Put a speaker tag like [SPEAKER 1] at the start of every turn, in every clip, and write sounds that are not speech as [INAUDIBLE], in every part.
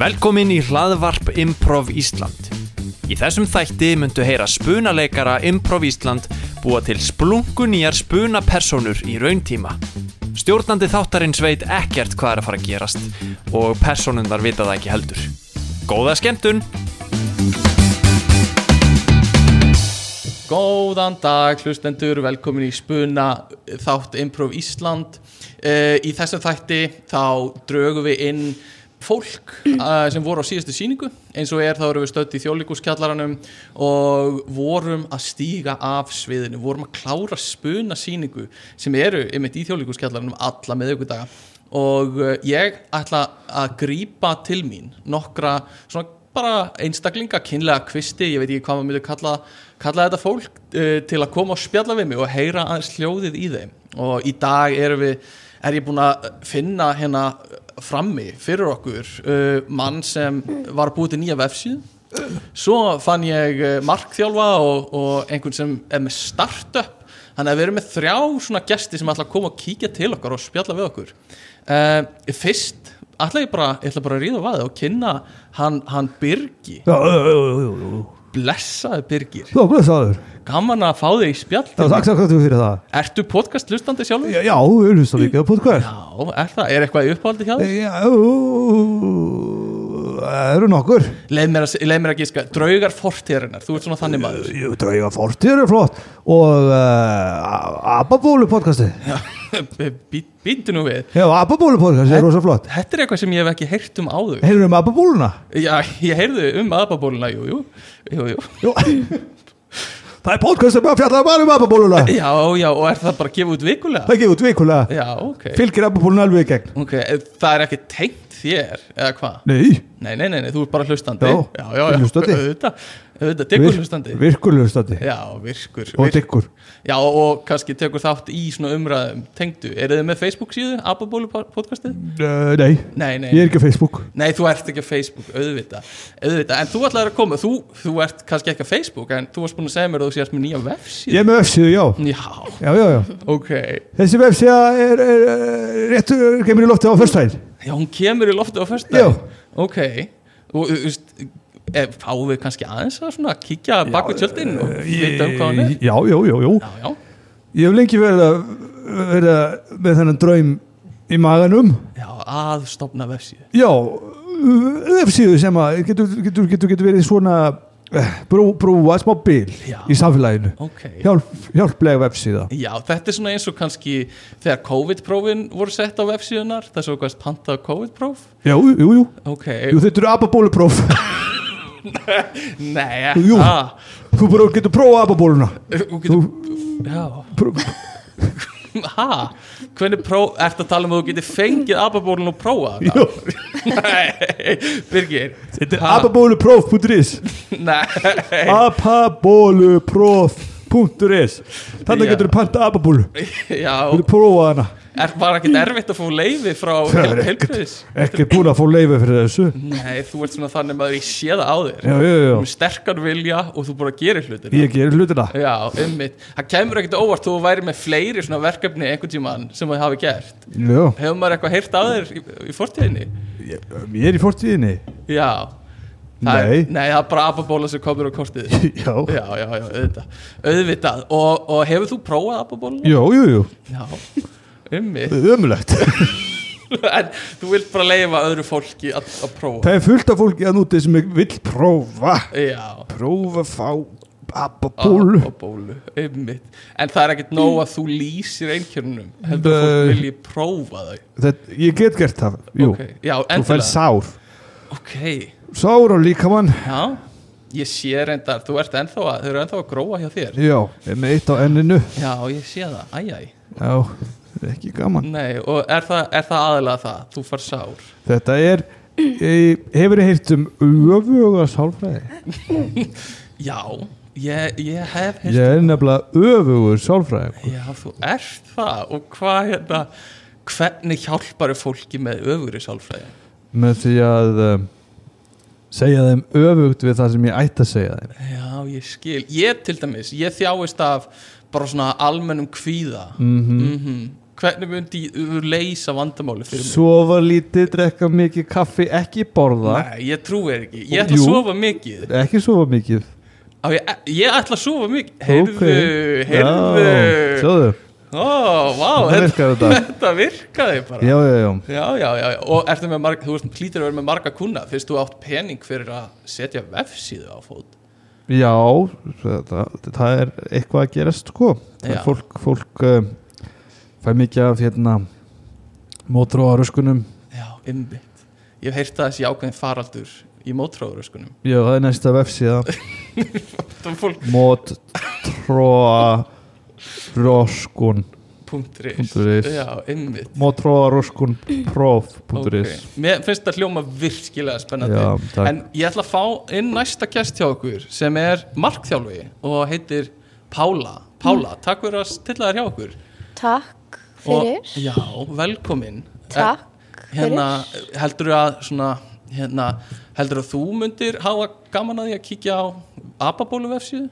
[SPEAKER 1] Velkomin í hlaðvarp Improv Ísland. Í þessum þætti myndu heyra spunaleikara Improv Ísland búa til splunkunýjar spunapersonur í rauntíma. Stjórnandi þáttarins veit ekkert hvað er að fara að gerast og personundar vita það ekki heldur. Góða skemmtun!
[SPEAKER 2] Góðan dag hlustendur, velkomin í Spuna þátt Improv Ísland uh, Í þessum þætti þá drögum við inn fólk uh, sem voru á síðustu síningu eins og er þá erum við stödd í þjóðlíkuskjallaranum og vorum að stíga af sviðinu, vorum að klára spuna síningu sem eru einmitt í þjóðlíkuskjallaranum alla með ykkur daga og uh, ég ætla að grípa til mín nokkra svona bara einstaklinga, kynlega kvisti, ég veit ekki hvað maður myndi kalla, kalla þetta fólk uh, til að koma og spjalla við mig og heyra aðeins hljóðið í þeim og í dag erum við, er ég búinn að finna hérna frammi fyrir okkur uh, mann sem var að búið til nýja vefsíð svo fann ég uh, markþjálfa og, og einhvern sem er með startup Þannig að við erum með þrjá svona gesti sem ætla að koma og kíkja til okkar og spjalla við okkur. Uh, fyrst ætla ég bara, ég ætla bara að ríða á vaðið og kynna hann, hann Birgi.
[SPEAKER 3] Já, já, já, já, já, já.
[SPEAKER 2] Blessaði Birgir.
[SPEAKER 3] Já, blessaður.
[SPEAKER 2] Gaman að fá þig í
[SPEAKER 3] Já,
[SPEAKER 2] spjall.
[SPEAKER 3] takk takk takk fyrir það.
[SPEAKER 2] Ertu podcast lustandi sjálfur?
[SPEAKER 3] Já, já, við erum svo mikið á podcast.
[SPEAKER 2] Já, er það? Er eitthvað í uppáhaldi hjá þig?
[SPEAKER 3] Já, það eru nokkur.
[SPEAKER 2] Leif mér að, leið mér að gíska, draugar fortíðarinnar, þú ert svona þannig maður.
[SPEAKER 3] Jú, Drauga fortíður er flott og uh, Ababólu podcasti.
[SPEAKER 2] [LAUGHS] Býndu nú við.
[SPEAKER 3] Já, Ababólu podcasti er rosa flott.
[SPEAKER 2] Þetta er eitthvað sem ég hef ekki heyrt um áður.
[SPEAKER 3] Heyrðu um Ababóluna?
[SPEAKER 2] Já, ég heyrði um aðbabóluna, jú, jú, jú, jú.
[SPEAKER 3] Jú. [LAUGHS] það er podcast sem er að fjalla bara um Ababóluna.
[SPEAKER 2] Já, já, og er það bara að gefa út vikulega?
[SPEAKER 3] Það er gefið út vikulega.
[SPEAKER 2] Já, ok.
[SPEAKER 3] Fylgir Ababóluna alveg í gegn.
[SPEAKER 2] Ok, eh, það er ekki tengt þér, eða hvað?
[SPEAKER 3] Nei,
[SPEAKER 2] Nei, nei, nei, nei, þú ert bara hlustandi.
[SPEAKER 3] Já,
[SPEAKER 2] já, já, já.
[SPEAKER 3] hlustandi.
[SPEAKER 2] Auðvitað, auðvitað, diggur hlustandi.
[SPEAKER 3] virkulustandi
[SPEAKER 2] Já, virkur.
[SPEAKER 3] og
[SPEAKER 2] virk-
[SPEAKER 3] diggur.
[SPEAKER 2] Já, og kannski tekur þátt í svona umræðum tengdu. Er þið með Facebook síðu, Ababólu podcastið?
[SPEAKER 3] Uh, nei,
[SPEAKER 2] Nei, nei.
[SPEAKER 3] ég er ekki á Facebook.
[SPEAKER 2] Nei, þú ert ekki á Facebook, auðvitað, auðvitað. En þú ætlaðir að koma, þú, þú ert kannski ekki á Facebook, en þú varst búin að segja mér að þú sést með nýja vefsíðu.
[SPEAKER 3] Ég er með öfsíðu, já.
[SPEAKER 2] Já,
[SPEAKER 3] Já, já, já.
[SPEAKER 2] ok.
[SPEAKER 3] Þessi vefsíða er, er, er réttur, kemur í loftið á fyrstæðin.
[SPEAKER 2] Já, hún kemur í loftið á fyrsta.
[SPEAKER 3] Já.
[SPEAKER 2] Ok, og þú veist, eh, fáum við kannski aðeins að svona kíkja bak við tjöldin og vita um hvað hún er?
[SPEAKER 3] Já, já, já, já.
[SPEAKER 2] Já, já,
[SPEAKER 3] Ég hef lengi verið að, verið að með þennan draum í maganum.
[SPEAKER 2] já, að stopna vefsíðu.
[SPEAKER 3] Já, vefsíðu sem að getur, getur, getur, getur verið svona eh, brú, brúa smá bil
[SPEAKER 2] Já.
[SPEAKER 3] í samfélaginu.
[SPEAKER 2] Ok.
[SPEAKER 3] Hjálp, hjálplega vefsíða.
[SPEAKER 2] Já, þetta er svona eins og kannski þegar COVID-prófin voru sett á vefsíðunar, það er svo hvað pantað COVID-próf.
[SPEAKER 3] Já, jú, jú, jú.
[SPEAKER 2] Ok,
[SPEAKER 3] Jú, þetta eru ababólupróf.
[SPEAKER 2] nei,
[SPEAKER 3] Jú.
[SPEAKER 2] ah,
[SPEAKER 3] Þú bara getur prófa ababóluna.
[SPEAKER 2] þú getur, já,
[SPEAKER 3] Pró-
[SPEAKER 2] ha, hvernig próf, ertu að tala um að þú getur fengið ababólun og prófað [LAUGHS] það?
[SPEAKER 3] Jú,
[SPEAKER 2] Nei, Birgir, ha,
[SPEAKER 3] ababólupróf.is
[SPEAKER 2] nei, [LAUGHS]
[SPEAKER 3] apabólupróf.is Þannig
[SPEAKER 2] Já.
[SPEAKER 3] getur þú panta apabólu
[SPEAKER 2] já,
[SPEAKER 3] Viltu prófa hana
[SPEAKER 2] Er, var ekkert erfitt að fá leiði frá
[SPEAKER 3] Það er
[SPEAKER 2] helbriðis?
[SPEAKER 3] Ekki búin að fá leiði fyrir þessu
[SPEAKER 2] Nei, þú ert svona þannig maður ég sé það á þér.
[SPEAKER 3] Já, já,
[SPEAKER 2] Þú
[SPEAKER 3] já
[SPEAKER 2] ert með sterkan vilja og þú bara gerir hlutina.
[SPEAKER 3] Ég gerir hlutina
[SPEAKER 2] Já, ummitt. Það kemur ekkert á óvart þú væri með fleiri svona verkefni einhvern tíman sem þú hafi gert.
[SPEAKER 3] Já
[SPEAKER 2] Hefur maður eitthvað heyrt á þér í, í fortíðinni?
[SPEAKER 3] Ég, ég er í fortíðinni
[SPEAKER 2] Já. Það
[SPEAKER 3] Nei.
[SPEAKER 2] Er, nei, það er bara ababóla sem komur á
[SPEAKER 3] [LAUGHS]
[SPEAKER 2] kortið.
[SPEAKER 3] Já
[SPEAKER 2] já, já, já, auðvitað. Auðvitað. Og, og hefur þú prófað ababóla?
[SPEAKER 3] Jú, jú, jú
[SPEAKER 2] Já. Ummitt.
[SPEAKER 3] Ömulegt
[SPEAKER 2] [LAUGHS] en þú vilt bara leifa öðru fólki að, að prófa.
[SPEAKER 3] Það er fullt af fólki að núti sem vill prófa
[SPEAKER 2] Já.
[SPEAKER 3] Prófa að fá apabólu
[SPEAKER 2] á bólu, einmitt en það er ekkert nóg að þú lýsir einkjörnum heldur að
[SPEAKER 3] Nei.
[SPEAKER 2] fólk vilji prófa þau
[SPEAKER 3] Þetta, Ég get gert það Jú
[SPEAKER 2] okay. já,
[SPEAKER 3] Þú fær
[SPEAKER 2] endilega
[SPEAKER 3] sár
[SPEAKER 2] ok,
[SPEAKER 3] Sár á líkamann
[SPEAKER 2] já, ég sé reyndar þú ert ennþá að, þau eru ennþá að gróa hjá þér
[SPEAKER 3] Já Ég er með eitt á enninu
[SPEAKER 2] já, ég sé það, æjæj
[SPEAKER 3] Já Það er ekki gaman
[SPEAKER 2] nei, og er það, er það aðalega það, þú far sár
[SPEAKER 3] Þetta er ég- Hefur þið heyrt um öfuga sálfræði?
[SPEAKER 2] já, ég, ég hef
[SPEAKER 3] Ég er nefnilega öfugur sálfræði
[SPEAKER 2] já, þú ert það og hvað hérna hvernig hjálpar fólki með öfugri sálfræði
[SPEAKER 3] með því að um, segja þeim öfugt við það sem ég ætti að segja þeim
[SPEAKER 2] Já, ég skil.
[SPEAKER 3] Mhm.
[SPEAKER 2] Ég til dæmis, ég þjáist af bara svona almennum kvíða. Mm hvernig myndi þú leysa vandamáli fyrir mig?
[SPEAKER 3] Sofa lítið, drekka mikið kaffi Ekki borða,
[SPEAKER 2] Nei, ég trúi þér ekki, ég ætla
[SPEAKER 3] Jú.
[SPEAKER 2] að sofa mikið
[SPEAKER 3] ekki sofa mikið
[SPEAKER 2] Á, ég, ég ætla að sofa mikið Heyrðu,
[SPEAKER 3] Ok. Já,
[SPEAKER 2] heyrðu
[SPEAKER 3] Sjáðu,
[SPEAKER 2] Ó, vá,
[SPEAKER 3] Þetta virkar þetta.
[SPEAKER 2] þetta virkaði bara
[SPEAKER 3] já, já, já
[SPEAKER 2] Já, já, já, já. og ertu með marga, þú veist, hlýtur að vera með marga kuna fyrst þú átt pening fyrir að setja vefsíðu á fót
[SPEAKER 3] Já, þetta, það er eitthvað að gerast sko Það er
[SPEAKER 2] Já.
[SPEAKER 3] fólk, fólk uh, fæ mikið af hérna mótró á röskunum
[SPEAKER 2] Já, einmitt Ég hef heyrt að þessi ákveðin faraldur í mótróðuröskunum
[SPEAKER 3] Já, það er næsta vefsíða
[SPEAKER 2] Það er fólk
[SPEAKER 3] mótróa röskun
[SPEAKER 2] punktur
[SPEAKER 3] Punktur is.
[SPEAKER 2] Já, einmitt
[SPEAKER 3] mótróa röskun prof.is
[SPEAKER 2] Ok. Mér finnst þetta hljóma virkilega spennandi
[SPEAKER 3] Já, takk.
[SPEAKER 2] En ég ætla að fá inn næsta gest hjá okkur sem er markþjálfi og heitir Pála Pála,
[SPEAKER 4] Mm.
[SPEAKER 2] takk fyrir að stilla þér hjá okkur
[SPEAKER 4] Takk
[SPEAKER 2] Og-
[SPEAKER 4] fyrir.
[SPEAKER 2] Já, velkomin
[SPEAKER 4] Takk fyrir.
[SPEAKER 2] hérna, heldur að svona, hérna, heldur að þú myndir hafa gaman að því að kíkja á apabólu vefsíðu?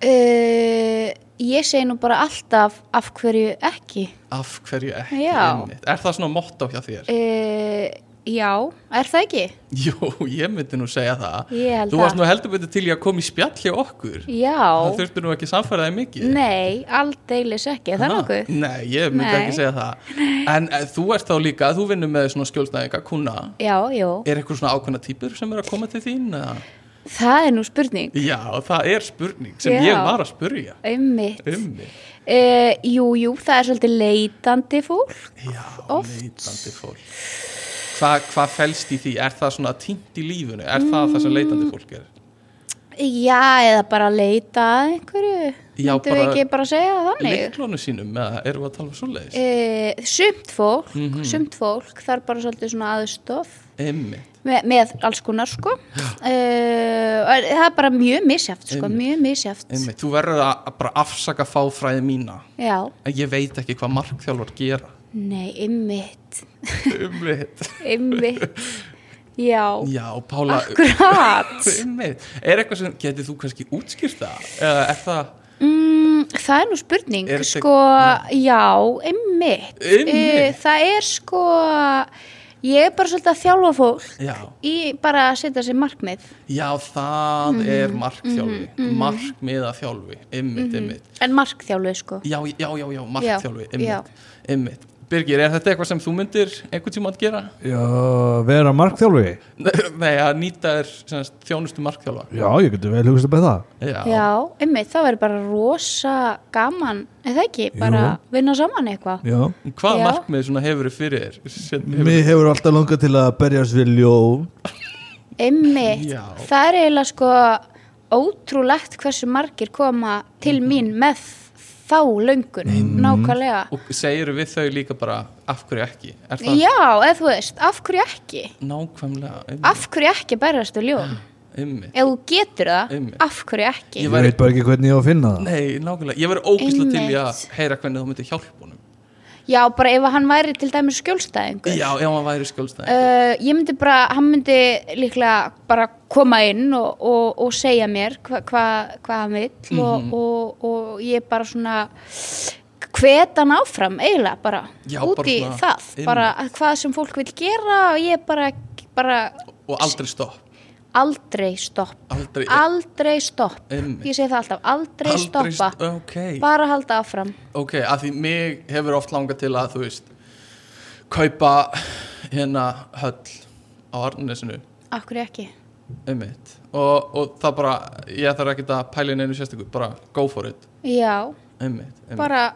[SPEAKER 4] Uh, ég segi nú bara alltaf af hverju ekki.
[SPEAKER 2] Af hverju ekki?
[SPEAKER 4] Já.
[SPEAKER 2] einmitt? Er það svona motto hjá þér?
[SPEAKER 4] Uh, já, er það ekki?
[SPEAKER 2] [LAUGHS] Jú, ég myndi nú segja það.
[SPEAKER 4] Ég held
[SPEAKER 2] Þú varst
[SPEAKER 4] það.
[SPEAKER 2] nú heldur betur til í að koma í spjall hjá okkur. Það
[SPEAKER 4] Já,
[SPEAKER 2] þurftu nú ekki að samfæra þig mikið.
[SPEAKER 4] nei, aldeilis ekki, er það
[SPEAKER 2] Ha?
[SPEAKER 4] nokkuð?
[SPEAKER 2] Nei, ég myndi
[SPEAKER 4] Nei.
[SPEAKER 2] ekki segja það. En e, þú ert þá líka, þú vinnur með svona skjólstæðinga kuna.
[SPEAKER 4] Já, jú,
[SPEAKER 2] Er eitthvað svona ákveðna týpur sem er að koma til þín? eða?
[SPEAKER 4] það er nú spurning,
[SPEAKER 2] Já, það er spurning sem
[SPEAKER 4] Já.
[SPEAKER 2] ég var að spurja.
[SPEAKER 4] einmitt.
[SPEAKER 2] Um mig.
[SPEAKER 4] Uh, jú, jú, það er svolítið leitandi fólk.
[SPEAKER 2] Já,
[SPEAKER 4] Oft.
[SPEAKER 2] leitandi fólk Hva, Hvað felst í því? Er það svona týnt í lífunu? Er það það sem leitandi fólk er?
[SPEAKER 4] Mm, Já, eða bara leita að einhverju,
[SPEAKER 2] Já,
[SPEAKER 4] myndum við
[SPEAKER 2] bara-
[SPEAKER 4] ekki bara segja það þannig?
[SPEAKER 2] Leiklónu sínum, eða erum við að tala um svoleiðis?
[SPEAKER 4] Uh, sumt fólk,
[SPEAKER 2] Mhm.
[SPEAKER 4] sumt fólk, það er bara svolítið svona aðstof.
[SPEAKER 2] Einmitt
[SPEAKER 4] með, með alls konar sko uh, það er bara mjög misjaft sko, mjög misjaft
[SPEAKER 2] Einmitt, þú verður að að bara afsaka fáfræði mína
[SPEAKER 4] já,
[SPEAKER 2] en ég veit ekki hvað markþjálfar gera
[SPEAKER 4] nei, ymmit
[SPEAKER 2] Einmitt [LAUGHS]
[SPEAKER 4] ymmit já,
[SPEAKER 2] Já, Pála
[SPEAKER 4] akkurat
[SPEAKER 2] [LAUGHS] Einmitt Er eitthvað sem getið þú kannski útskýrt það? Eða er það
[SPEAKER 4] mm, það er nú spurning
[SPEAKER 2] Er þetta-
[SPEAKER 4] sko, já, ymmit
[SPEAKER 2] Einmitt.
[SPEAKER 4] það er sko ég er bara svolítið að þjálfa fólk
[SPEAKER 2] Já,
[SPEAKER 4] í bara að setja sér markmið
[SPEAKER 2] já það
[SPEAKER 4] Mhm.
[SPEAKER 2] er markþjálfi Markmiða þjálfi Einmitt, einmitt
[SPEAKER 4] en markþjálfi sko
[SPEAKER 2] Já, já, já, já, markþjálfi,
[SPEAKER 4] Mhm. Já, já.
[SPEAKER 2] einmitt, einmitt. Birgir, er þetta eitthvað sem þú myndir einhvern tíma að gera? [LAUGHS]
[SPEAKER 3] Já, vera markþjálfi
[SPEAKER 2] Nei, að nýta þér sem sagt, þjónustu markþjálfa.
[SPEAKER 3] Já, ég getur vel hugst að beða það
[SPEAKER 4] já, ymmit, það verður bara rosa gaman, er það ekki bara vinna saman eitthvað
[SPEAKER 3] Já
[SPEAKER 2] Hvað
[SPEAKER 4] Já.
[SPEAKER 2] markmið svona hefur þið fyrir þér? Set- hefurðu-
[SPEAKER 3] Mér hefur alltaf langað til að berjast við ljón
[SPEAKER 4] Einmitt,
[SPEAKER 2] Já.
[SPEAKER 4] það er eiginlega sko ótrúlegt hversu margir koma til
[SPEAKER 2] Mhm.
[SPEAKER 4] mín með þá löngun, nákvæmlega.
[SPEAKER 2] Og segir við þau líka bara af hverju ekki? Er það
[SPEAKER 4] Já, eða þú veist, af hverju ekki?
[SPEAKER 2] nákvæmlega einmitt?
[SPEAKER 4] Af hverju ekki berjast við ljón?
[SPEAKER 2] einmitt.
[SPEAKER 4] Ef þú getur það,
[SPEAKER 2] Mm. Einmitt.
[SPEAKER 4] af hverju ekki?
[SPEAKER 2] Ég
[SPEAKER 3] Ég
[SPEAKER 2] væri-
[SPEAKER 3] veit bara ekki hvernig ég á að finna það
[SPEAKER 2] Nei, nákvæmlega. Ég verður ógæslega til í að
[SPEAKER 4] Einmitt.
[SPEAKER 2] heyra hvernig þú myndir hjálpa honum.
[SPEAKER 4] Já, bara ef hann væri til dæmis skjólstæðingur.
[SPEAKER 2] Já, ef hann væri skjólstæði.
[SPEAKER 4] Uh, ég myndi bara, hann myndi líklega bara koma inn og, og, og segja mér hva- hvað hvað hann vill
[SPEAKER 2] Mhm.
[SPEAKER 4] og, og, og ég bara svona hvet hann áfram eiginlega bara
[SPEAKER 2] Já,
[SPEAKER 4] út
[SPEAKER 2] bara
[SPEAKER 4] í
[SPEAKER 2] svona
[SPEAKER 4] það,
[SPEAKER 2] inn.
[SPEAKER 4] bara að hvað sem fólk vil gera og ég bara, bara
[SPEAKER 2] og aldrei stopp.
[SPEAKER 4] aldrei stopp,
[SPEAKER 2] Aldrei-
[SPEAKER 4] aldrei stopp,
[SPEAKER 2] Einmitt.
[SPEAKER 4] ég segi það alltaf, aldrei,
[SPEAKER 2] Aldrei
[SPEAKER 4] stoppa,
[SPEAKER 2] st- ok.
[SPEAKER 4] bara halda áfram.
[SPEAKER 2] ok, að því mig hefur oft langað til að þú veist kaupa hérna höll á Arnnesinu
[SPEAKER 4] Akkur ekki,
[SPEAKER 2] einmitt og, og það bara, ég þarf ekki að pæla inn einu sérstöku, bara go for it
[SPEAKER 4] já,
[SPEAKER 2] einmitt, einmitt.
[SPEAKER 4] bara,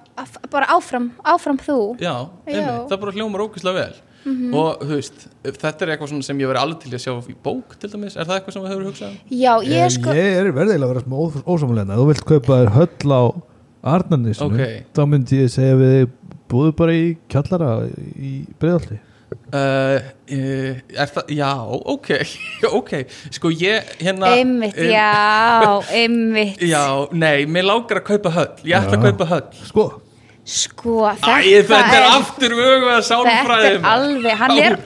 [SPEAKER 4] bara áfram, áfram þú.
[SPEAKER 2] já, einmitt,
[SPEAKER 4] Já. Mhm.
[SPEAKER 2] það bara hljómar ókvæslega vel og þú veist, þetta er eitthvað svona sem ég verið alveg til í að sjá í bók til dæmis, er það eitthvað sem við hefur hugsað um?
[SPEAKER 4] Já, ég er
[SPEAKER 3] Ég,
[SPEAKER 4] sko...
[SPEAKER 3] ég er verðilega að vera smá ósamlega ef þú vilt kaupa þér höll á Arnarnisnu
[SPEAKER 2] Ok.
[SPEAKER 3] þá myndi ég segja við þig, búðu bara í kjallara í breyðalli
[SPEAKER 2] Uh, uh, er það, já, ok [LAUGHS] ok, sko ég hérna
[SPEAKER 4] Einmitt,
[SPEAKER 2] eh,
[SPEAKER 4] já, einmitt
[SPEAKER 2] já, nei, mér langar að kaupa höll ég ætla að
[SPEAKER 3] Já.
[SPEAKER 2] kaupa höll
[SPEAKER 3] sko,
[SPEAKER 4] Sko, þetta
[SPEAKER 2] Æ, þetta er aftur vöguða
[SPEAKER 4] Þetta
[SPEAKER 2] sálfræðum
[SPEAKER 4] er alveg, hann er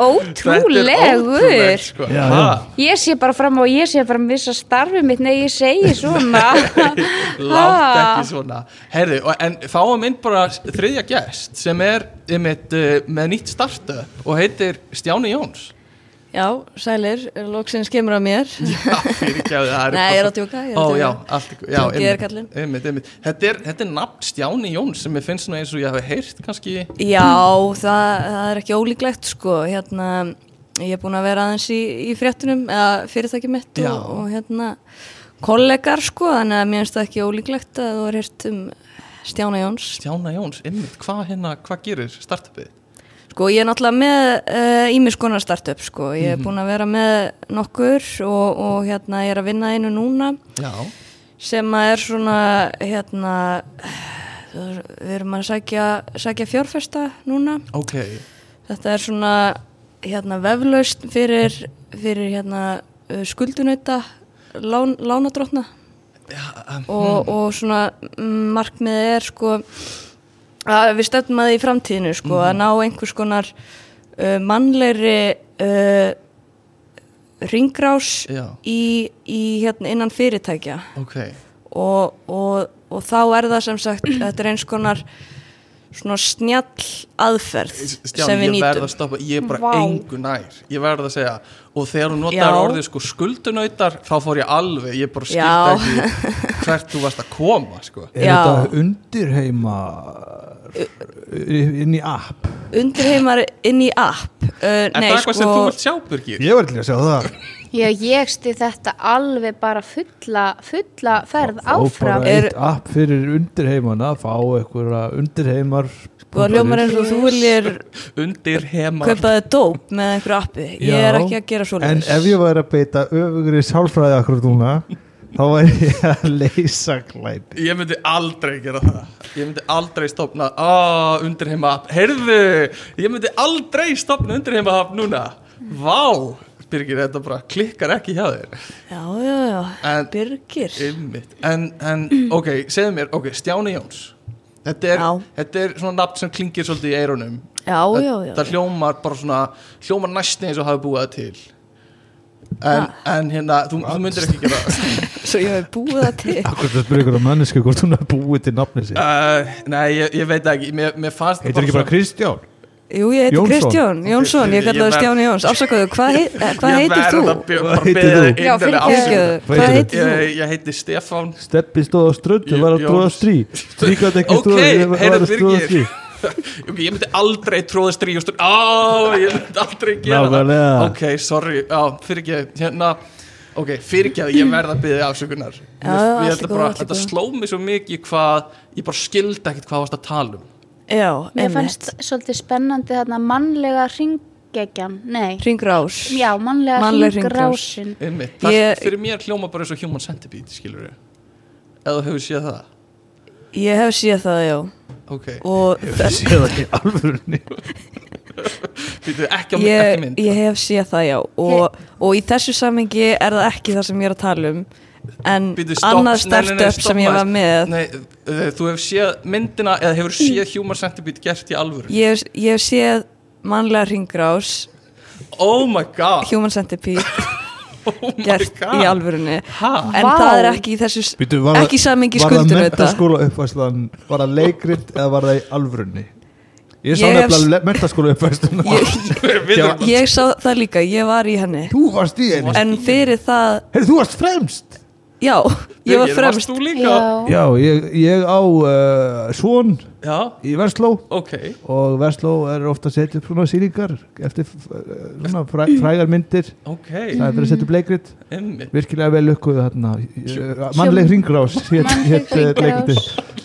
[SPEAKER 4] ótrúlegur
[SPEAKER 2] sko.
[SPEAKER 3] Já,
[SPEAKER 2] Ha,
[SPEAKER 3] já.
[SPEAKER 4] Ég sé bara fram á, ég sé bara um vissa starfi mitt Nei, ég segi svona
[SPEAKER 2] Látt
[SPEAKER 4] Ha.
[SPEAKER 2] ekki svona Herðu, og- en fáum inn bara þriðja gest sem er einmitt, uh, með nýtt startup og heitir Stjáni
[SPEAKER 5] [LAUGHS]
[SPEAKER 2] Jóns
[SPEAKER 5] Já, sælir, loksins kemur að mér
[SPEAKER 2] Já, fyrirgefðu, það er
[SPEAKER 5] Nei,
[SPEAKER 2] eitthvað
[SPEAKER 5] ég er
[SPEAKER 2] svo-
[SPEAKER 5] að djóka, ég er
[SPEAKER 2] Ó,
[SPEAKER 5] að djóka.
[SPEAKER 2] já, allt í- já,
[SPEAKER 5] Djókið er
[SPEAKER 2] einmitt,
[SPEAKER 5] kallinn.
[SPEAKER 2] einmitt, einmitt. Þetta, er, þetta er nafn Stjáni Jóns sem ég finnst svona eins og ég hafi heyrt kannski
[SPEAKER 5] Já, það, það er ekki ólíklegt sko, hérna ég er búin að vera aðeins í, í fréttunum eða fyrirtæki mitt
[SPEAKER 2] Já.
[SPEAKER 5] og, og hérna kollegar sko, þannig að mér finnst það ekki ólíklegt að þú er hirt um Stjána Jóns
[SPEAKER 2] Stjána Jóns, einmitt, hvað hérna, hvað gerir startupið?
[SPEAKER 5] Sko ég er náttúrulega með ímis uh, konar startup sko, ég er búin að vera með nokkur og, og hérna ég er að vinna að einu núna
[SPEAKER 2] Já,
[SPEAKER 5] sem að er svona hérna við erum að sækja, sækja fjárfesta núna
[SPEAKER 2] ok
[SPEAKER 5] þetta er svona hérna veflaust fyrir, fyrir hérna uh, skuldunauta lán, lánadrottna
[SPEAKER 2] um,
[SPEAKER 5] og,
[SPEAKER 2] Hmm.
[SPEAKER 5] og svona mm, markmiðið er sko að við stefnum að því í framtíðinu sko að
[SPEAKER 2] Hmm.
[SPEAKER 5] ná einhvers konar uh, mannlegri uh, ringrás
[SPEAKER 2] Já.
[SPEAKER 5] í, í hérna innan fyrirtækja
[SPEAKER 2] Ok,
[SPEAKER 5] og, og, og þá er það sem sagt þetta er eins konar svona snjall aðferð sem
[SPEAKER 2] Stjáni, ég
[SPEAKER 5] við
[SPEAKER 2] verð að
[SPEAKER 5] nýtum
[SPEAKER 2] stoppa, ég er bara
[SPEAKER 4] Vá.
[SPEAKER 2] engu nær Ég verð að segja, og þegar hún notar
[SPEAKER 5] Já.
[SPEAKER 2] orðið sko skuldunautar þá fór ég alveg, ég bara
[SPEAKER 5] Já.
[SPEAKER 2] skilta ekki hvert þú varst að koma sko.
[SPEAKER 3] Er
[SPEAKER 5] Já.
[SPEAKER 3] þetta undirheima uh, inn í app?
[SPEAKER 5] undirheimar inn í app uh,
[SPEAKER 2] Er
[SPEAKER 5] nei,
[SPEAKER 2] það eitthvað
[SPEAKER 5] sko,
[SPEAKER 2] sem þú vilt sjá, Birgir?
[SPEAKER 3] Ég var til að sjá það
[SPEAKER 4] Já, ég stið þetta alveg bara fulla, fulla ferð áfram
[SPEAKER 3] Og bara
[SPEAKER 5] Er-
[SPEAKER 3] eitt app fyrir undirheimana Fá einhverja undirheimar
[SPEAKER 5] sko hljómar eins og þú viljir
[SPEAKER 2] Undir hema
[SPEAKER 5] kaupaði dóp með einhverju appi ég er
[SPEAKER 3] Já.
[SPEAKER 5] ekki að gera svo
[SPEAKER 3] En ef ég væri að beita öfugri sálfræði akkur núna Þá væri ég að leysa glæpi
[SPEAKER 2] Ég myndi aldrei gera það Ég myndi aldrei stopna ah, Undirheima app, heyrðu Ég myndi aldrei stopna undirheima app núna Vá, Birgir, þetta bara klikkar ekki hjá þér
[SPEAKER 5] já, já, já,
[SPEAKER 2] En-
[SPEAKER 5] Birgir
[SPEAKER 2] Einmitt. En,
[SPEAKER 5] [CLEARS THROAT]
[SPEAKER 2] en ok, segðu mér, ok, Stjáni Jóns Þetta er,
[SPEAKER 5] Já.
[SPEAKER 2] þetta er svona nafn sem klingir svolítið í eyrunum
[SPEAKER 5] já, já, já,
[SPEAKER 2] Það
[SPEAKER 5] já.
[SPEAKER 2] hljómar bara svona Hljómar næstin eins og hafi búið það til En, en hérna, þú, þú myndir ekki gera það
[SPEAKER 5] svo ég hef búið það til
[SPEAKER 3] Akkur það spyrir ykkur að manneski hvort hún er búið til nafni sér
[SPEAKER 2] uh, Nei, ég, ég veit það ekki Mér, mér fannst
[SPEAKER 3] Heitir ekki bara Kristján?
[SPEAKER 5] jú, ég heiti
[SPEAKER 3] Jónsson.
[SPEAKER 5] Kristjón Jónsson, ég
[SPEAKER 2] Ég
[SPEAKER 5] kallaði
[SPEAKER 2] verð-
[SPEAKER 5] Stjáni Jóns afsakaðu, hvað hei, eh, hvað heitir þú?
[SPEAKER 2] Hvað
[SPEAKER 3] Hvað heitir þú?
[SPEAKER 5] já, fyrirgeðu,
[SPEAKER 3] Hvað heitir
[SPEAKER 5] hvað heitir þú?
[SPEAKER 2] Ég, ég heiti Stefán
[SPEAKER 3] Steppi stóð á ströndu, var að
[SPEAKER 2] Jóns.
[SPEAKER 3] tróða strí Stríkat ekki
[SPEAKER 2] Ok,
[SPEAKER 3] stóð, var
[SPEAKER 2] heyrðu
[SPEAKER 3] að tróða strí
[SPEAKER 2] Birgir [LAUGHS] Ok, ég myndi aldrei tróða strí og stund Á, ég myndi aldrei gera
[SPEAKER 3] Nákvæmlega.
[SPEAKER 2] það Ok, sorry, á, fyrirgeðu Hérna, ok, fyrirgeðu, ég verð að byggja afsökunar Já,
[SPEAKER 5] já, allt í
[SPEAKER 2] ætla
[SPEAKER 5] góðu,
[SPEAKER 2] bara,
[SPEAKER 5] allt í
[SPEAKER 2] Þetta
[SPEAKER 5] góðu.
[SPEAKER 2] sló mig svo mikið hvað Ég bara skildi ekkert hvað varst að tala um
[SPEAKER 5] já,
[SPEAKER 4] Mér
[SPEAKER 5] einmitt
[SPEAKER 4] fannst svolítið spennandi þarna mannlega ringegjan Nei,
[SPEAKER 5] Ringrás
[SPEAKER 4] já, mannlega, mannlega
[SPEAKER 5] Mannleg hringrás.
[SPEAKER 4] ringrásin
[SPEAKER 2] Einmitt, það
[SPEAKER 5] Ég-
[SPEAKER 2] fyrir mér hljóma bara eins og human centipede, skilur ég Eða þú hefur séð það
[SPEAKER 5] Ég hef séð það, já
[SPEAKER 2] Ok,
[SPEAKER 5] og
[SPEAKER 3] Sér það í alvörunni
[SPEAKER 2] býtu ekki á mynd, ekki
[SPEAKER 5] ég,
[SPEAKER 2] mynd
[SPEAKER 5] ég hef séð það, já og, og í þessu samengi er það ekki það sem ég er að tala um en
[SPEAKER 2] Bíddu, stopp, nei, nei,
[SPEAKER 5] annað
[SPEAKER 2] nei,
[SPEAKER 5] startup
[SPEAKER 2] stopp
[SPEAKER 5] sem ég var
[SPEAKER 2] aðeins.
[SPEAKER 5] með
[SPEAKER 2] Nei, eh, þú hefur séð myndina eða hefur séð Human Centipede gert í alvöru
[SPEAKER 5] ég, hef- ég hef séð mannlega ringrás
[SPEAKER 2] Oh my god
[SPEAKER 5] Human Centipede
[SPEAKER 2] [LAUGHS] Oh my
[SPEAKER 5] gert
[SPEAKER 2] god
[SPEAKER 5] í alvörunni
[SPEAKER 2] Ha?
[SPEAKER 5] en
[SPEAKER 4] Vá.
[SPEAKER 5] það er ekki í þessu
[SPEAKER 3] Býtu, var það-
[SPEAKER 5] ekki í samengi
[SPEAKER 3] Var það
[SPEAKER 5] skuldunauta
[SPEAKER 3] mentaskóla uppfæslan Var það leikrit eða var það í alvörunni Ég sá
[SPEAKER 5] Ég hef-
[SPEAKER 3] nefnilega le- mentaskóla uppfæsluna
[SPEAKER 5] ég,
[SPEAKER 2] Við erum-
[SPEAKER 5] ég sá það líka, ég var í henni
[SPEAKER 3] [LAUGHS] Þú varst í henni
[SPEAKER 5] en fyrir það,
[SPEAKER 3] Heyrðu, þú varst fremst
[SPEAKER 5] já ég var
[SPEAKER 2] Birgir, varst
[SPEAKER 5] fremst
[SPEAKER 2] þú líka?
[SPEAKER 4] Já,
[SPEAKER 3] Já, ég, ég á uh, svon
[SPEAKER 2] Já,
[SPEAKER 3] í Versló
[SPEAKER 2] ok
[SPEAKER 3] og Versló er ofta að setja upp svona sýningar eftir eh, svona fræ, frægar myndir
[SPEAKER 2] Ok,
[SPEAKER 3] það er fyrir að setja upp leikrit
[SPEAKER 2] emmi
[SPEAKER 3] virkilega vel lukkuð þarna Eh, mannleg ringrás hét,
[SPEAKER 4] Mannleg
[SPEAKER 3] hét eh, leikritið
[SPEAKER 4] hringrás.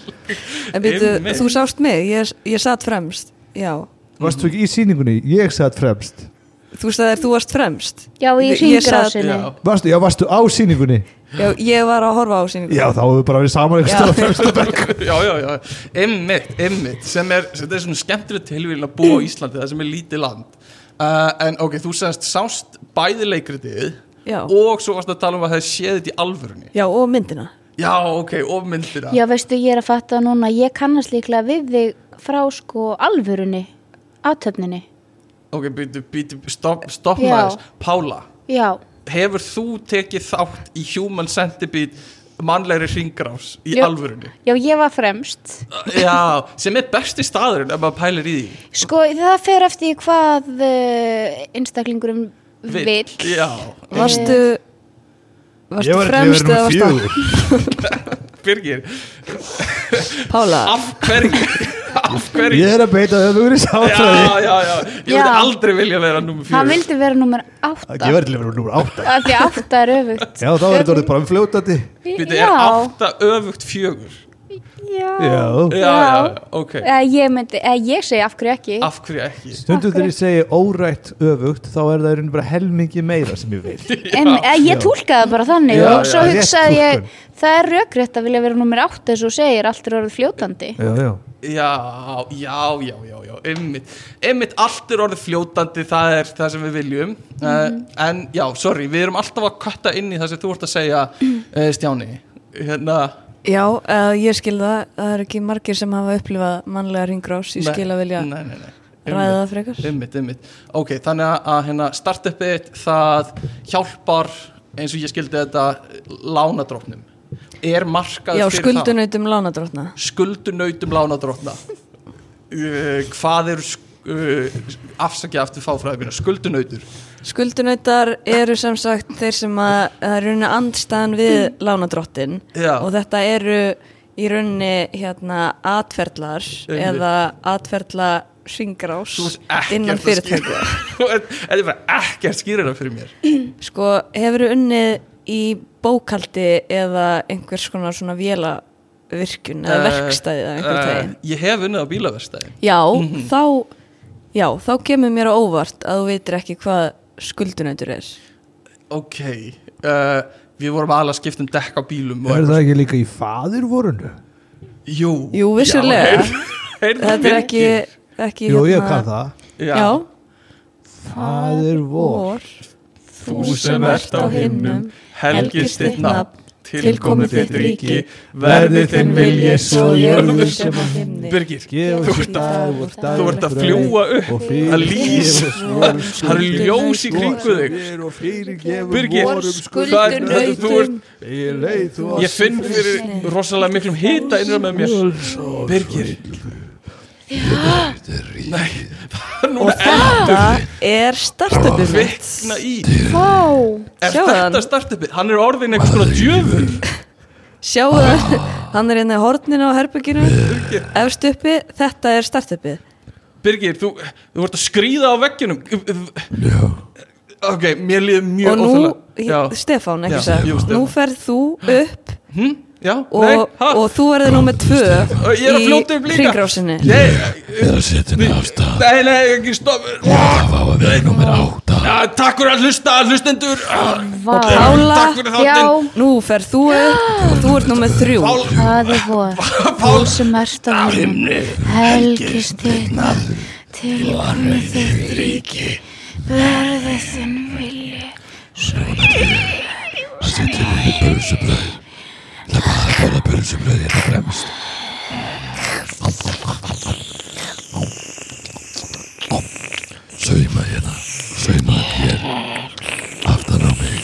[SPEAKER 5] en byrju,
[SPEAKER 2] Einmitt.
[SPEAKER 5] þú sást mig, ég, ég satt fremst já,
[SPEAKER 3] Varst þú ekki í sýningunni? Ég satt fremst
[SPEAKER 5] þú sagðir þú varst fremst
[SPEAKER 4] já í
[SPEAKER 5] Ég- ég sagði-
[SPEAKER 4] ringrásinni
[SPEAKER 2] Já,
[SPEAKER 3] Varstu, já, varstu á sýningunni?
[SPEAKER 5] Já, ég var að horfa á sýningu
[SPEAKER 3] Já, þá hefur bara verið saman ekki stöða fremst
[SPEAKER 2] já, já, já. Einmitt, einmitt sem er, þetta er svona skemmtileg tilvíðin að búa á Íslandi það sem er lítið land uh, en ok, þú sagðist sást bæði leikritið
[SPEAKER 5] Já.
[SPEAKER 2] og svo varst að tala um að það hefði séð þetta í alvörunni
[SPEAKER 5] Já, og myndina
[SPEAKER 2] Já, ok, og myndina
[SPEAKER 4] Já, veistu, ég er að fatta núna, ég kannast líklega við þig frá sko alvörunni aðtöfninni
[SPEAKER 2] Ok, býtu, býtu, stopp, stopp
[SPEAKER 4] Já.
[SPEAKER 2] maður Pála,
[SPEAKER 4] já,
[SPEAKER 2] hefur þú tekið þátt í Human Centipede mannlegri hringrás í
[SPEAKER 4] Já.
[SPEAKER 2] alvörunni?
[SPEAKER 4] já ég var fremst
[SPEAKER 2] Já, sem er besti staðurinn ef maður pælir í því
[SPEAKER 4] sko það fer eftir því hvað uh, einstaklingurum vill,
[SPEAKER 2] Já,
[SPEAKER 5] Varstu Varstu
[SPEAKER 6] Ég var
[SPEAKER 5] fremst eða varstu
[SPEAKER 6] fjögur
[SPEAKER 2] Birgir,
[SPEAKER 5] Pála
[SPEAKER 2] af hverju
[SPEAKER 3] [LAUGHS]
[SPEAKER 2] af hverju
[SPEAKER 3] Ég er að beita þau að þú eru sáttræði
[SPEAKER 2] Já, já, já, ég
[SPEAKER 4] Já.
[SPEAKER 2] myndi aldrei vilja vera nummer
[SPEAKER 4] hann
[SPEAKER 2] fjögur
[SPEAKER 4] vildi vera nummer átta
[SPEAKER 6] Ég var til að vera númer átta
[SPEAKER 4] af því átta er öfugt
[SPEAKER 6] Já, þá var þetta orðið bara um fljótandi
[SPEAKER 2] Býtu,
[SPEAKER 4] já,
[SPEAKER 2] er átta öfugt fjögur
[SPEAKER 4] já,
[SPEAKER 6] Já,
[SPEAKER 2] Já, já, já, ok Ah,
[SPEAKER 4] Eða ég, myndi, eða ég segi af hverju ekki
[SPEAKER 2] Af hverju ekki?
[SPEAKER 6] Stundu þegar ég segi órætt öfugt þá er það í raun bara helmingi meira sem ég vil
[SPEAKER 4] en, eða, ég túlkaði það bara þannig
[SPEAKER 2] Já,
[SPEAKER 4] og svo
[SPEAKER 6] já, rétt
[SPEAKER 4] hugsaði ég
[SPEAKER 6] túlkun.
[SPEAKER 4] það er rökrétt að vilja vera nummer átta eins og þú segir allt er orðið fljótandi
[SPEAKER 6] Já, já
[SPEAKER 2] Já, já, já, já, já, einmitt, einmitt allt er orðið fljótandi, það er það sem við viljum,
[SPEAKER 5] Mhm.
[SPEAKER 2] uh, en já, sorry, við erum alltaf að kötta inn í það sem þú ert að segja, uh, Stjáni, hérna,
[SPEAKER 5] Já, uh, ég skil það Það eru ekki margir sem hafa upplifað mannlega ringrás Ég skil að vilja
[SPEAKER 2] nei, nei, nei,
[SPEAKER 5] ræða það frekar
[SPEAKER 2] einmitt, einmitt, ok, þannig að- að hérna, startupið það hjálpar, eins og ég skildi þetta, lánadróknum, er markað
[SPEAKER 5] Já,
[SPEAKER 2] fyrir
[SPEAKER 5] um
[SPEAKER 2] það?
[SPEAKER 5] skuldunautum lánadrótna
[SPEAKER 2] skuldunautum lánadrótna uh, hvað eru sk- uh, afsakið aftur fáfræðabina skuldunautur
[SPEAKER 5] Skuldunautar eru sem sagt þeir sem að það er rauninni andstæðan við lánadróttin
[SPEAKER 2] Já.
[SPEAKER 5] og þetta eru í rauninni hérna atferðlar
[SPEAKER 2] Einmitt.
[SPEAKER 5] eða atferðla ringrás
[SPEAKER 2] þú veist ekkert
[SPEAKER 5] innan fyrirtækja
[SPEAKER 2] [LAUGHS] þetta er bara ekkert skýrina fyrir mér
[SPEAKER 5] Sko, hefur unnið í bókaldi eða einhvers konar svona vélavirkun eða verkstæði eða einhver tegin?
[SPEAKER 2] Eh, Mhm. ég hef unnið á bílaverstæði
[SPEAKER 5] Já, þá, já, þá kemur mér á óvart að þú vitir ekki hvað skuldunautur er.
[SPEAKER 2] ok uh, við vorum aðalega skipt um dekk á bílum og
[SPEAKER 3] Er það ekki líka í faðurvorunu?
[SPEAKER 2] jú,
[SPEAKER 5] Jú, vissulega. [LAUGHS]
[SPEAKER 2] heyrðu
[SPEAKER 5] Þetta er ekki,
[SPEAKER 2] Birgir.
[SPEAKER 5] ekki hérna-
[SPEAKER 3] Jú,
[SPEAKER 2] hérna
[SPEAKER 3] ég kann það
[SPEAKER 2] já,
[SPEAKER 5] Já,
[SPEAKER 3] Faðurvor
[SPEAKER 5] vor, þú sem ert á hinnum,
[SPEAKER 2] helgist þitt nafn
[SPEAKER 5] tilkomi
[SPEAKER 2] tilkomið
[SPEAKER 5] þitt ríki,
[SPEAKER 2] verði þinn vilji svo jörðu sem
[SPEAKER 5] sem á himni.
[SPEAKER 2] Birgir,
[SPEAKER 3] Gefa
[SPEAKER 2] Þú
[SPEAKER 3] sér
[SPEAKER 2] ert að-
[SPEAKER 3] dag og dag
[SPEAKER 2] þú ert að fljúa upp
[SPEAKER 3] og fyrir
[SPEAKER 2] að lýsa.
[SPEAKER 3] gefur
[SPEAKER 2] Það eru ljós í kringu þig
[SPEAKER 3] og fyrir gefur
[SPEAKER 2] Birgir,
[SPEAKER 4] Vorum
[SPEAKER 6] sko.
[SPEAKER 2] það er-
[SPEAKER 4] skuldunautum.
[SPEAKER 2] þú ert-
[SPEAKER 3] Ég leið þú
[SPEAKER 2] ég finn fyrir rosalega miklum hita innra með mér Birgir Nei, það er núna
[SPEAKER 5] Þetta er startupið mitt.
[SPEAKER 2] erfna í
[SPEAKER 4] Vá,
[SPEAKER 2] Er
[SPEAKER 5] Sjáðu
[SPEAKER 2] þetta
[SPEAKER 5] hann.
[SPEAKER 2] startupið? Hann er orðin einhvers konar djöfur
[SPEAKER 5] Sjáu það,
[SPEAKER 2] Ah.
[SPEAKER 5] [LAUGHS] hann er hérna í horninu á herbygginu, efst uppi, þetta er startupið.
[SPEAKER 2] Birgir, þú, þú ert að skrýða á veggjunum Já Ok, mér líður
[SPEAKER 5] Og
[SPEAKER 2] mjög
[SPEAKER 5] nú,
[SPEAKER 2] óþægilega. Já,
[SPEAKER 5] Stefán,
[SPEAKER 2] Já,
[SPEAKER 5] ekki sér,
[SPEAKER 2] jú, Stefán.
[SPEAKER 5] nú ferð þú upp
[SPEAKER 2] Hm? já,
[SPEAKER 5] og,
[SPEAKER 2] nei, ha
[SPEAKER 5] og þú verður nummið tvö
[SPEAKER 2] Ég er að fljóta upp líka.
[SPEAKER 5] hringrásinni.
[SPEAKER 2] Nei, ég er að setja henni af stað Nei, nei, ekki stopp Það var að vera nummer átta Takk fyrir að hlusta, hlustendur Ah,
[SPEAKER 4] vá,
[SPEAKER 5] Pála,
[SPEAKER 2] Takk fyrir
[SPEAKER 4] já,
[SPEAKER 2] þáttinn
[SPEAKER 5] nú ferð þú upp og þú ert nummið þrjú.
[SPEAKER 2] Pál-
[SPEAKER 4] faðurvor þú sem ert á himni helgist þitt nafn tilkomið þitt ríki verði þinn vilji
[SPEAKER 7] sauma hérna sauma hér aftan á mig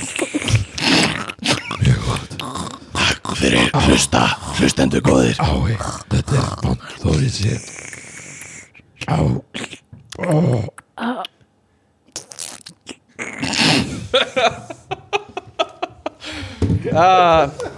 [SPEAKER 7] mjög gott takk fyrir hlusta hlustendur góðir ái, þetta er bónd þó ég sé á
[SPEAKER 2] Ah,